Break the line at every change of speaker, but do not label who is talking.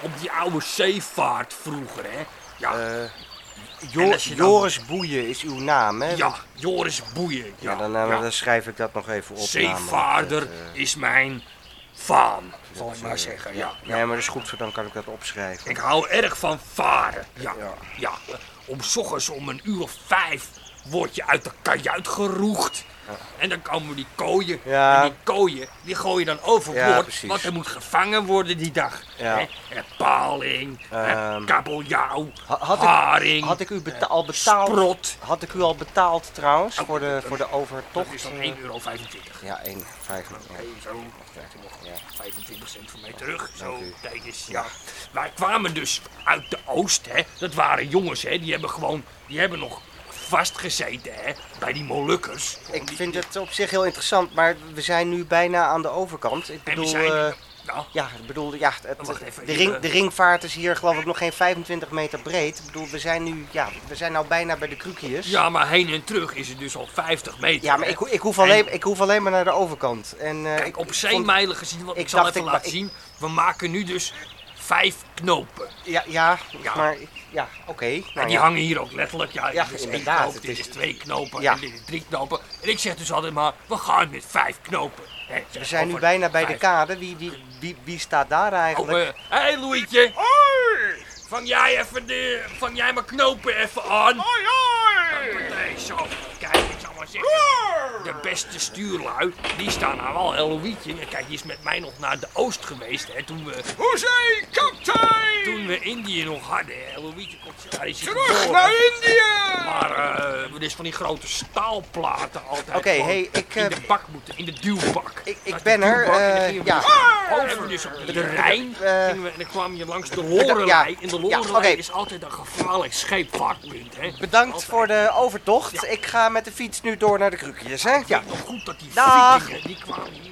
op die oude zeevaart vroeger, hè? Ja,
Eh,
Jo-
en als je dan- Joris Boeien is uw naam, hè?
ja Joris Boeien. Ja,
Ja, dan, eh,
ja.
dan schrijf ik dat nog even op.
Zeevaarder
namelijk, eh,
is mijn faam, zal ik
eh,
maar zeggen. Ja.
Nee, maar dat is goed, zo dan kan ik dat opschrijven.
Ik hou erg van varen. Ja.
Ja.
ja. Om 's ochtends om een uur of vijf word je uit de kajuit geroegd. En dan komen die kooien.
Ja.
En die kooien die gooi je dan overboord.
precies.
want er moet gevangen worden die dag.
Ja.
Hè? En paling, en
Ehm,
kabeljauw,
Ha- had ik-
haring, eh,
Had ik u beta- al betaald?
sprot.
Had ik u al betaald trouwens
Oh,
voor de,
dat-
voor de
Dat
overtocht?
is dan Oh,
Eh,
1,25 euro.
Ja, 1, 5. Ja.
Hey, zo, krijg je
Ja.
nog 25 cent van mij terug. Zo,
dank u.
kijk eens. Ja. Wij kwamen dus uit de oost, hè. Dat waren jongens, hè. Die hebben gewoon, die hebben nog vastgezeten, hè. Bij die Molukkers.
Ik vind het op zich heel interessant, maar we zijn nu bijna aan de overkant. Ik
En we
bedoel,
zijn-
eh,
Nou,
ja, ik bedoel, ja, het,
Wacht even,
de,
hier,
ring,
eh.
de ringvaart is hier geloof ik nog geen 25 meter breed. Ik bedoel, we zijn nu, ja, we zijn nou bijna bij de Krukius.
ja, maar heen en terug is het dus al 50 meter.
Ja, maar
hè.
ik, ho- ik, hoef alleen, ik hoef alleen maar naar de overkant. En, eh,
Kijk,
ik-
op
ik vond-
zeemijlen gezien, want ik,
ik
zal
dacht,
even
ik-
laten
ik-
zien. We maken nu dus vijf knopen.
Ja, ja,
Ja.
maar ik- ja, oké. nou
En die
ja.
hangen hier ook letterlijk. Ja,
Ja,
dit is één
inderdaad,
knoop,
het
dit
is-
is twee knopen,
Ja.
en dit is drie knopen. En ik zeg dus altijd maar, we gaan met vijf knopen. Hè, zeg,
We zijn nu
over
bijna bij de
vijf.
kade. Wie, wie, wie, wie staat daar
Oh,
eigenlijk?
eh, hey Loeitje. Vang jij even de, vang jij mijn knopen even aan. Hoi, hoi. Zo, kijk, ik zal maar zeggen. De beste stuurlui, die staan nou wel, hey Loeitje. En Kijk, die is met mij nog naar de oost geweest, hè, toen we...
Hoezee, kaptein!
Toen we Indië nog hadden, hè, Loeitje komt zo... hij is hier
Terug
geboren.
naar Indië!
Maar eh dit is van die grote staalplaten altijd.
Oké,
gewoon
hey, ik,
in
eh,
de bak moeten, in de duwbak.
ik- ik
eh, Dat is
ben
de
er,
duwbak en dan
eh,
gingen we
ja.
dus Over dus op de Rijn
eh,
gingen we, en dan kwam je langs de Lorelei. En de
ja,
Lorelei
oké.
is altijd een gevaarlijk scheepvaartpunt, hè.
Bedankt
Altijd.
voor de overtocht.
Ja.
Ik ga met de fiets nu door naar de Krukjes, hè? Ja.
Nog goed dat die
Dag.
vikingen, die kwamen hier